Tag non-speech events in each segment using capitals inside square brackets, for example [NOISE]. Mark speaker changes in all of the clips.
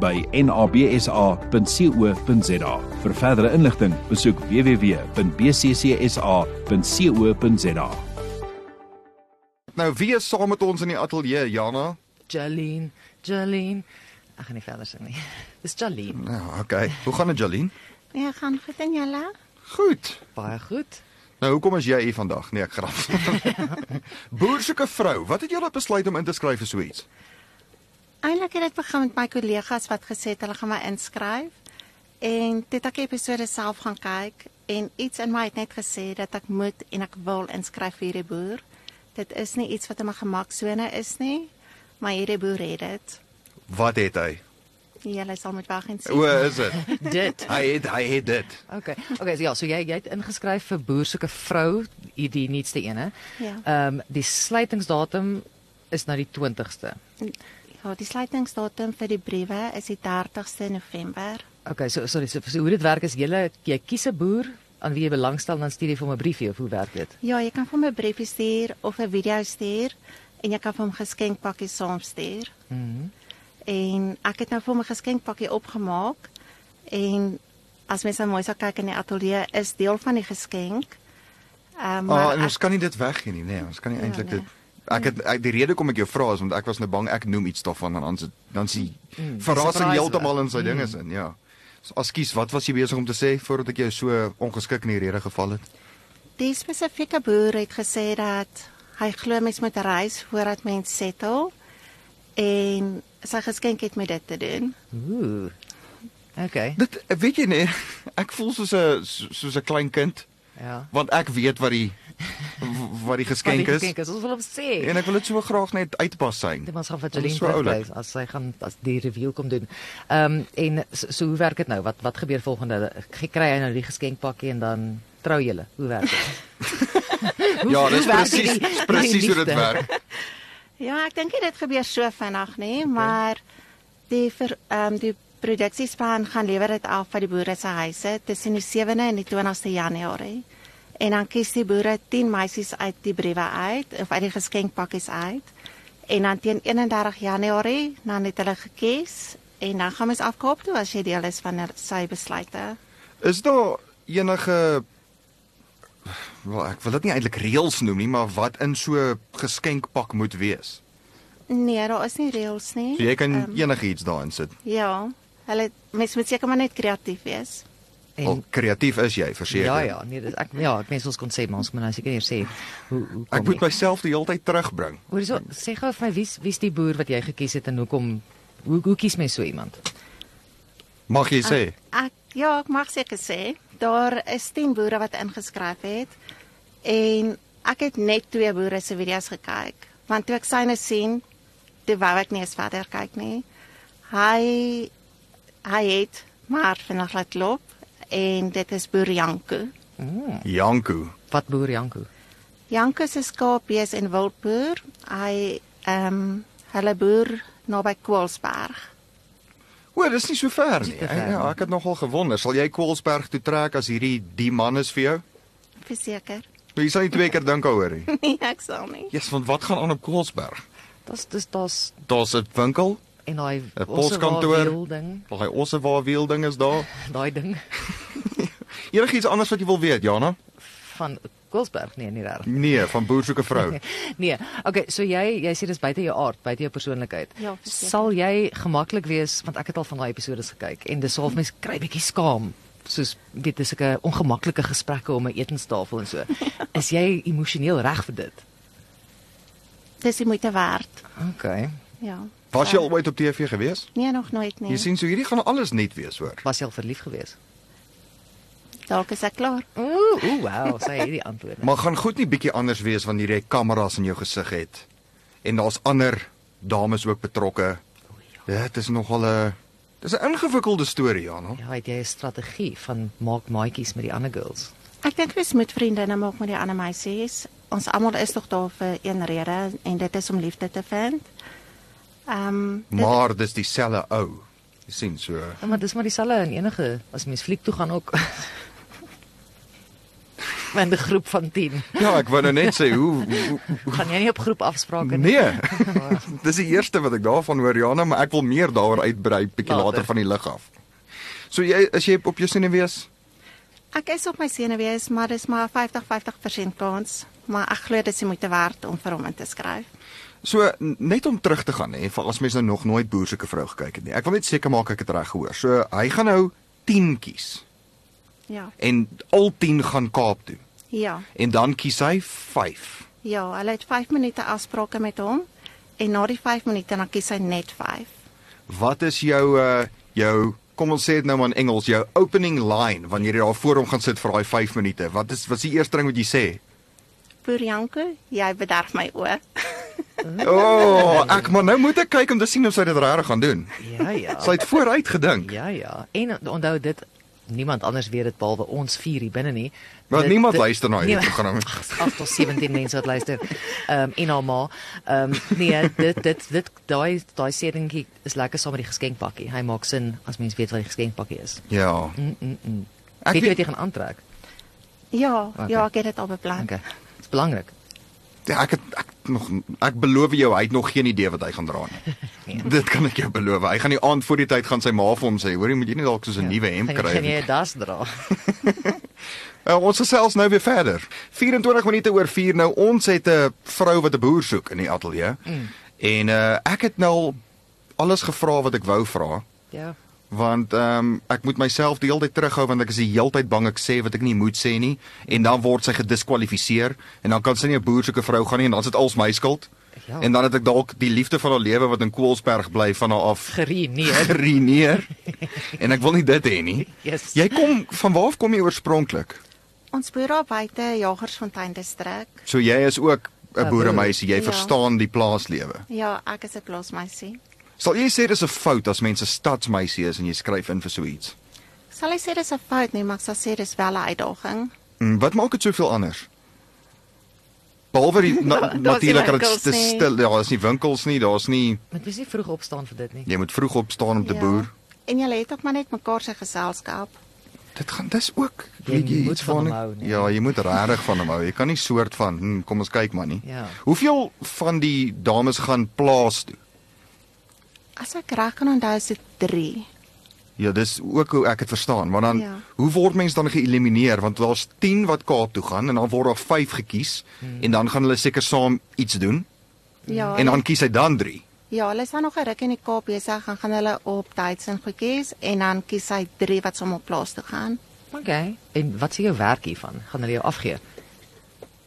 Speaker 1: by nabsa.co.za. Vir verdere inligting, besoek www.bccsa.co.za.
Speaker 2: Nou wie is saam met ons in die ateljee, Jana?
Speaker 3: Jolene, Jolene. Ek gaan nie verder sing nie. Dis Jolene.
Speaker 2: Nou, okay. Hoe gaan dit, Jolien?
Speaker 4: Ja, gaan goed en julle?
Speaker 2: Goed.
Speaker 3: Baie goed.
Speaker 2: Nou hoekom is jy hier vandag? Nee, ek grap.
Speaker 4: [LAUGHS]
Speaker 2: Boer soek 'n vrou. Wat het julle besluit om in te skryf vir so iets?
Speaker 4: Eintlik het ek begin met my kollegas wat gesê het hulle gaan my inskryf en toe het ek die episode self gaan kyk en iets in my het net gesê dat ek moet en ek wil inskryf vir hierdie boer. Dit is nie iets wat in my gemaksone is nie, maar hierdie boer het dit.
Speaker 2: Wat het hy?
Speaker 4: Julle sal moet wag en
Speaker 2: O,
Speaker 4: sien.
Speaker 2: is dit?
Speaker 3: Dit.
Speaker 2: Hy het hy het dit.
Speaker 3: Okay. Okay, so ja, so jy jy het ingeskryf vir boer soeke vrou, die, die nuutste ene.
Speaker 4: Ja.
Speaker 3: Ehm um, die sluitingsdatum is nou die 20ste.
Speaker 4: Ja, die sluitingsdatum vir die briewe is die 30ste November.
Speaker 3: Okay, so sorry, so, so hoe dit werk is jy jy kies 'n boer aan wie jy belangstel en dan stuur jy vir hom 'n briefie of hoe werk dit?
Speaker 4: Ja, jy kan vir my 'n briefie stuur of 'n video stuur en jy kan vir hom geskenkpakkies saamstuur. Mhm. En ek het nou vir hom 'n geskenkpakkie opgemaak en as mense mooi sal kyk in die ateljee is deel van die geskenk. Ehm um,
Speaker 2: Ah,
Speaker 4: maar
Speaker 2: en
Speaker 4: ek,
Speaker 2: ons kan nie dit weggee nie, nee. Ons kan nie eintlik
Speaker 4: nee.
Speaker 2: dit Ek het ek, die rede kom ek jou vra is want ek was nou bang ek noem iets daarvan en dan is dit- dan
Speaker 4: Mm,
Speaker 2: sien verrassing
Speaker 3: surprise
Speaker 2: heeltemal
Speaker 3: wel.
Speaker 2: in sy ding is in, ja. So, Ekskuus, wat was jy besig om te sê voordat ek jou so ongeskik in die rede geval het?
Speaker 4: die spesifieke boer het gesê dat hy glo mens moet reis voordat mens settle en sy geskenk het met dit te doen.
Speaker 3: Ooh. Okay.
Speaker 2: Dit weet jy nee, [LAUGHS] ek voel soos 'n soos 'n klein kind
Speaker 3: Ja.
Speaker 2: want ek weet wat die wat die geskenk
Speaker 3: Wat die
Speaker 2: is.
Speaker 3: Geskenk is. Ons wil hom sê.
Speaker 2: En ek wil dit so graag net uitpas syn.
Speaker 3: Dit was gaan vir
Speaker 2: Dit is
Speaker 3: Jolene
Speaker 2: so oulik.
Speaker 3: terugwys as sy gaan as die review kom doen. Ehm um, en so, so hoe werk dit nou? Wat wat gebeur volgende? Jy Kry hy nou die geskenkpakkie en dan trou julle? Hoe werk dit?
Speaker 2: [LAUGHS]
Speaker 3: Hoe-
Speaker 2: Ja, dis
Speaker 3: hoe werk
Speaker 2: presies [LAUGHS]
Speaker 3: die- die
Speaker 2: presies hoe dit
Speaker 3: liefde?
Speaker 2: werk.
Speaker 4: Ja, ek dink nie dit gebeur so vinnig nie, okay. maar die vir ehm um, die produksiespan gaan lewer dit af by die boere se huise tussen die 7de en die 20ste Januarie. En dan kies die boere 10 meisies uit die briewe uit of uit die geskenkpakkies uit. En dan teen 31 Januarie dan het hulle gekies en dan gaan mens afkoop toe as jy deel is van hulle- sy besluite.
Speaker 2: Is daar enige wel ek wil dit nie eintlik reëls noem nie, maar wat in so 'n geskenkpak moet wees.
Speaker 4: Nee, daar is nie reëls nie.
Speaker 2: So jy kan um,
Speaker 4: Ehm,
Speaker 2: enigiets daarin sit.
Speaker 4: ja, hulle mens moet seker maar net kreatief wees.
Speaker 2: Al
Speaker 3: En,
Speaker 2: kreatief is jy, Oh, verseker.
Speaker 3: ja ja, nee, dis ek ja, ek mens ons kon sê maar ons moet nou seker eers sê hoe hoe kom
Speaker 2: Ek moet
Speaker 3: jy?
Speaker 2: myself die hele tyd terugbring.
Speaker 3: Hoor so, sê gou vir my wie's wie's die boer wat jy gekies het en hoekom hoe hoe kies mens so iemand?
Speaker 2: Mag
Speaker 3: Ah,
Speaker 2: jy sê?
Speaker 4: Ek ja, ek mag seker sê, daar is 10 boere wat ingeskryf het en ek het net twee boere se video's gekyk, want toe ek syne sien, toe wou ek nie eens verder kyk nie. Hy hy het maar vinnig laat loop en dit is boer Janko.
Speaker 3: ja.
Speaker 2: Janko.
Speaker 3: Wat boer Janko?
Speaker 4: Janko se skaap is in Wildboer. Hy ehm um, hulle boer naby Kwalsberg.
Speaker 2: O, dis nie so ver nie.
Speaker 3: te ver
Speaker 2: Ek- Ja,
Speaker 3: nie.
Speaker 2: ek het nogal gewonder, sal jy Kwalsberg toe trek as hierdie die man is vir jou?
Speaker 4: Verseker. [LAUGHS]
Speaker 2: Nou, Jy sal nie twee keer dink daaroor [LAUGHS] nie.
Speaker 4: Nee, ek sal nie.
Speaker 2: Jesus, want wat gaan aan op Kwalsberg?
Speaker 3: Dis dis daar's
Speaker 2: Daar's 'n winkel,
Speaker 3: en daai
Speaker 2: 'n
Speaker 3: ossewaar wiel
Speaker 2: poskantoor,
Speaker 3: ding,
Speaker 2: daai ossewaar wiel ding is daar.
Speaker 3: daai ding
Speaker 2: Enigiets anders wat jy wil weet, Jana?
Speaker 3: van Koelsberg nee, nie reg.
Speaker 2: Nee, van boer soek 'n
Speaker 3: [LAUGHS]
Speaker 2: vrou.
Speaker 3: Nee. Okay, so jy jy sê dis buite jou aard, buite jou persoonlikheid.
Speaker 4: Ja, verseker.
Speaker 3: Sal jy gemaklik wees want ek het al van daai episode gekyk en dis half mens kry bietjie skaam soos weet dis sulke ongemaklike gesprekke om 'n etenstafel en
Speaker 4: [LAUGHS]
Speaker 3: so. Is jy emosioneel reg vir dit?
Speaker 4: Dis die moeite werd.
Speaker 3: Okay.
Speaker 4: Ja.
Speaker 2: Was
Speaker 4: So-
Speaker 2: jy al ooit op TV gewees?
Speaker 4: Nee, nog nooit nie.
Speaker 2: Jy sien so hierdie gaan alles net wees hoor.
Speaker 3: Was jy al verlief geweest?
Speaker 4: Dalk is ek klaar.
Speaker 3: Ooh, ooh, wow, sê hierdie antwoord.
Speaker 2: Maar gaan goed nie bietjie anders wees wanneer jy kameras in jou gesig het. En daar's ander dames ook betrokke. Dit is nogal 'n Dis 'n ingewikkelde storie, Jana.
Speaker 3: Ja, het jy 'n strategie van maak maatjies met die ander girls?
Speaker 4: Ek dink mens moet vriendinne maak met die ander meisies. Ons almal is tog daar vir een rede en dit is om liefde te vind. Ehm um, dit-
Speaker 2: Maar dis dieselfde ou. Jy sien so.
Speaker 3: Ja, maar dis maar dieselfde in enige as mens fliek toe gaan ook. [LAUGHS] Met 'n groep van 10.
Speaker 2: Ja, ek wou nou net sê hoe, hoe, hoe
Speaker 3: Gaan jy nie op groep afsprake nie?
Speaker 2: Nee. [LAUGHS] Dis die eerste wat ek daarvan hoor, Jana, maar ek wil meer daaroor uitbrei bietjie
Speaker 3: Later.
Speaker 2: later van die lig af. So jy as jy op jou senuwees,
Speaker 4: ek is op my senuwees, maar dis maar 50-50% kans, maar ek glo dit is die moeite werd om vir hom in te skryf.
Speaker 2: so n- net om terug te gaan hè, vir as mense nou nog nooit boersoeke vrou gekyk het nie. Ek wil net seker maak ek het reg gehoor. So hy gaan nou 10 kies
Speaker 4: Ja.
Speaker 2: en al 10 gaan Kaap toe.
Speaker 4: Ja.
Speaker 2: En dan kies hy 5.
Speaker 4: Ja, hulle het 5 minute afsprake met hom en na die 5 minute dan kies hy net 5.
Speaker 2: Wat is jou uh jou kom ons sê dit nou maar in Engels, jou opening line wanneer jy daar voor hom gaan sit vir daai 5 minute. Wat is wat is die eerste ding wat jy sê?
Speaker 3: [LAUGHS]
Speaker 4: Purjanko, jy bederf my oë. [LAUGHS]
Speaker 3: Ja.
Speaker 2: O, oh, ek maar nou moet ek kyk om te sien of sy dit regtig gaan doen.
Speaker 3: Ja, ja.
Speaker 2: Sy het vooruit gedink.
Speaker 3: Ja, ja. En onthou dit niemand anders weet dit behalwe ons vier hier binne nie.
Speaker 2: Want
Speaker 3: Dit-
Speaker 2: niemand
Speaker 3: dit-
Speaker 2: luister na hierdie
Speaker 3: niemand-
Speaker 2: program.
Speaker 3: Ag, Ag, tot 17 [LAUGHS] mense wat luister. Ehm um, en almal. Ehm um, nee, dit dit dit daai daai sedingie is lekker saam met die geskenkpakkie. Hy maak sin as mens weet wat die geskenkpakkie is.
Speaker 2: Ja.
Speaker 3: Mm -mm -mm.
Speaker 2: Ek
Speaker 3: Ek weet jy
Speaker 2: weet-
Speaker 3: wat jy gaan aantrek.
Speaker 4: Ja,
Speaker 3: Okay.
Speaker 4: okay. ja, ek het dit al beplan.
Speaker 3: Okay. Dit's belangrik.
Speaker 2: Ja, ek het ek nog ek beloof jou hy het nog geen idee wat hy gaan dra
Speaker 3: [LAUGHS]
Speaker 2: nie.
Speaker 3: Ja.
Speaker 2: Dit kan ek jou beloof. Hy gaan die aand voor die tyd gaan sy ma vir hom sê, "Hoor jy, moet jy nie dalk soos 'n
Speaker 3: Ja.
Speaker 2: nuwe hemp
Speaker 3: Gaan jy-
Speaker 2: kry
Speaker 3: Gaan
Speaker 2: nie."
Speaker 3: jy 'n das dra?
Speaker 2: Uh, ons gesels nou weer verder. 24 minute oor 4 nou. Ons het 'n vrou wat 'n boer soek in die ateljee. Mm. En uh ek het nou al alles gevra wat ek wou vra,
Speaker 3: ja.
Speaker 2: want ehm um, ek moet myself die hele tyd terughou want ek is die hele tyd bang ek sê wat ek nie moet sê nie en dan word sy gediskwalifiseer en dan kan sy nie 'n boer soek 'n vrou gaan nie en dan is dit als my skuld.
Speaker 3: Ja.
Speaker 2: En dan het ek dalk die liefde van haar lewe wat in Koelsberg bly van haar af
Speaker 3: Gerie nee.
Speaker 2: [LAUGHS] gereneer. en ek wil nie dit hê nie.
Speaker 3: [LAUGHS] Yes.
Speaker 2: Jy kom van waar af kom jy oorspronklik?
Speaker 4: Ons boer daar buite Jagersfontein distrik.
Speaker 2: So jy is ook 'n
Speaker 3: boer.
Speaker 2: boeremeisie, jy
Speaker 4: Ja.
Speaker 2: verstaan die plaaslewe.
Speaker 4: Ja, ek is 'n plaasmeisie.
Speaker 2: Sal jy sê dis 'n fout as mense stadsmeisie is en jy skryf in vir so iets?
Speaker 4: Sal ek sê dis 'n fout nie, maar ek sal sê dis wel 'n uitdaging.
Speaker 2: Mm, wat maak dit soveel anders? Behalwe
Speaker 3: [LAUGHS]
Speaker 2: die na,
Speaker 4: Daar's nie
Speaker 2: natuurlik dat
Speaker 4: winkels
Speaker 2: dit te
Speaker 4: nie.
Speaker 2: stil, ja, daar's nie winkels nie, daar's nie
Speaker 3: [LAUGHS] Moet mens nie vroeg opstaan vir dit nie.
Speaker 2: jy moet vroeg opstaan om te
Speaker 4: Ja.
Speaker 2: ja. boer.
Speaker 4: En jy het ook maar net mekaar se geselskap.
Speaker 2: Dit gaan dis ook
Speaker 3: Ja, Jy
Speaker 2: weet
Speaker 3: moet
Speaker 2: iets
Speaker 3: van
Speaker 2: van
Speaker 3: hom
Speaker 2: nie?
Speaker 3: hou, nee.
Speaker 2: Ja, jy moet regtig van hom hou. Jy kan nie soort van hm, kom ons kyk maar nie.
Speaker 3: Ja.
Speaker 2: Hoeveel van die dames gaan plaas toe?
Speaker 4: As ek reg kan onthou is dit 3.
Speaker 2: Ja, dis ook hoe ek dit verstaan, want dan ja.
Speaker 4: Ja.
Speaker 2: hoe word mense dan geëlimineer want daar's 10 wat Kaap toe gaan en dan word daar 5 gekies hmm. en dan gaan hulle seker saam iets doen
Speaker 4: Ja.
Speaker 2: en dan kies hy dan 3.
Speaker 4: ja, hulle is dan nog 'n ruk in die Kaap besig, dan gaan hulle op tyds en goedjies en dan kies hy 3 wat sommer plaas toe gaan.
Speaker 3: Okay. En wat is jou werk hiervan? Gaan hulle jou afgee?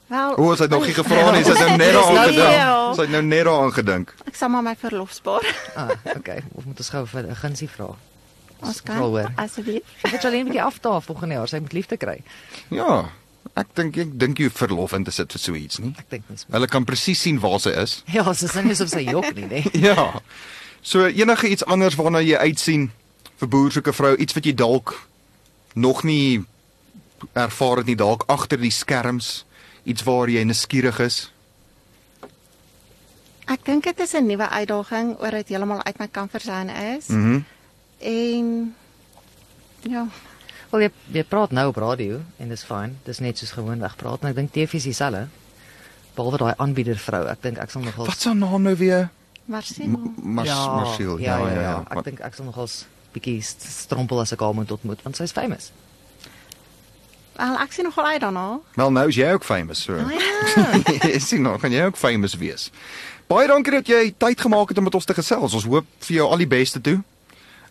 Speaker 4: Wel,
Speaker 2: O, ons het nog nie gevra nie, ons het nou net daaraan
Speaker 4: Ja.
Speaker 2: gedink. Ons het nou net daaraan gedink.
Speaker 4: ek sal maar my verlof spaar.
Speaker 3: Ah, okay. Of moet ons gou vir 'n gunsie vra?
Speaker 4: [LAUGHS] Ons
Speaker 3: Vra hoor.
Speaker 4: kan asseblief.
Speaker 3: Ek het alleen 'n bietjie aftaaf volgende jaar, sy moet liefde kry.
Speaker 2: Ja, ek dink ek dink jy verlof in te sit vir so iets nie.
Speaker 3: Ek dink mens. [LAUGHS] moet-
Speaker 2: Hulle kan presies sien waar sy is.
Speaker 3: Ja, sy sê nie asof sy jok nie, nee.
Speaker 2: [LAUGHS] Ja. So enige iets anders waarna jy uitsien vir boer soek 'n vrou, iets wat jy dalk nog nie ervaar het nie, dalk agter die skerms, iets waar jy nuuskierig is.
Speaker 4: Ek dink dit is 'n nuwe uitdaging oor dit heeltemal uit my komfortzone is. Mhm. Mm en ja,
Speaker 3: Wel jy jy praat nou op radio en dis fyn. Dis net soos gewoonlik praat en ek dink TV is dieselfde. Behalwe daai aanbieder vrou, ek dink ek sal nogal
Speaker 2: Wat se naam nou weer?
Speaker 4: maar sien.
Speaker 2: Mars Marsiel.
Speaker 3: Ja, ja, ja. ja. Ek dink ek sal nogal s- bietjie st- strompel as ek haar moet ontmoet want sy's famous.
Speaker 4: Wel, ek sien nogal uit daarna.
Speaker 2: Wel nou is jy ook famous so.
Speaker 3: ja.
Speaker 2: [LAUGHS] Is jy nog kan jy ook famous wees. Baie dankie dat jy tyd gemaak het om met ons te gesels. Ons hoop vir jou al die beste toe.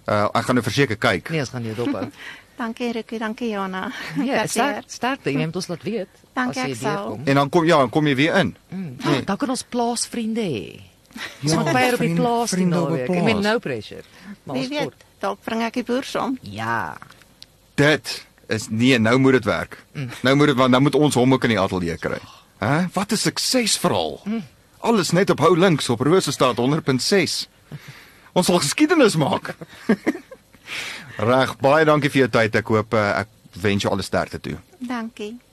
Speaker 2: Uh ek gaan nou verseker kyk.
Speaker 3: Nee, ons gaan jou [LAUGHS] dophou.
Speaker 4: Dankie Rikkie, dankie Jana.
Speaker 3: Ja,
Speaker 4: Dankie.
Speaker 3: sterk, sterkte. Jy moet ons laat weet as
Speaker 4: Dankie,
Speaker 3: jy
Speaker 4: ek sal.
Speaker 3: deurkom.
Speaker 2: En dan kom ja, dan kom jy weer in.
Speaker 3: Mm. Ah, dan kan ons plaasvriende hê. Ons
Speaker 2: Nee. Ja,
Speaker 3: gaan kuier op die
Speaker 2: vriend-
Speaker 3: plaas die
Speaker 2: vriende op die
Speaker 3: naweek. Ek meen
Speaker 2: plaas.
Speaker 3: no pressure. Maar
Speaker 4: Wie
Speaker 3: ons
Speaker 4: weet,
Speaker 3: kort.
Speaker 4: dalk bring ek die boer saam.
Speaker 3: Ja.
Speaker 2: Dit is nee, nou moet dit werk. Nou moet dit want nou moet ons hom ook in die ateljee kry. Hæ? Wat 'n suksesverhaal. Alles net op hou links op Rosestad 100.6. Ons sal geskiedenis maak. [LAUGHS] Reg, baie dankie vir jou tyd. Ek hoop eh, ek wens jou alle sterkte toe.
Speaker 4: Dankie.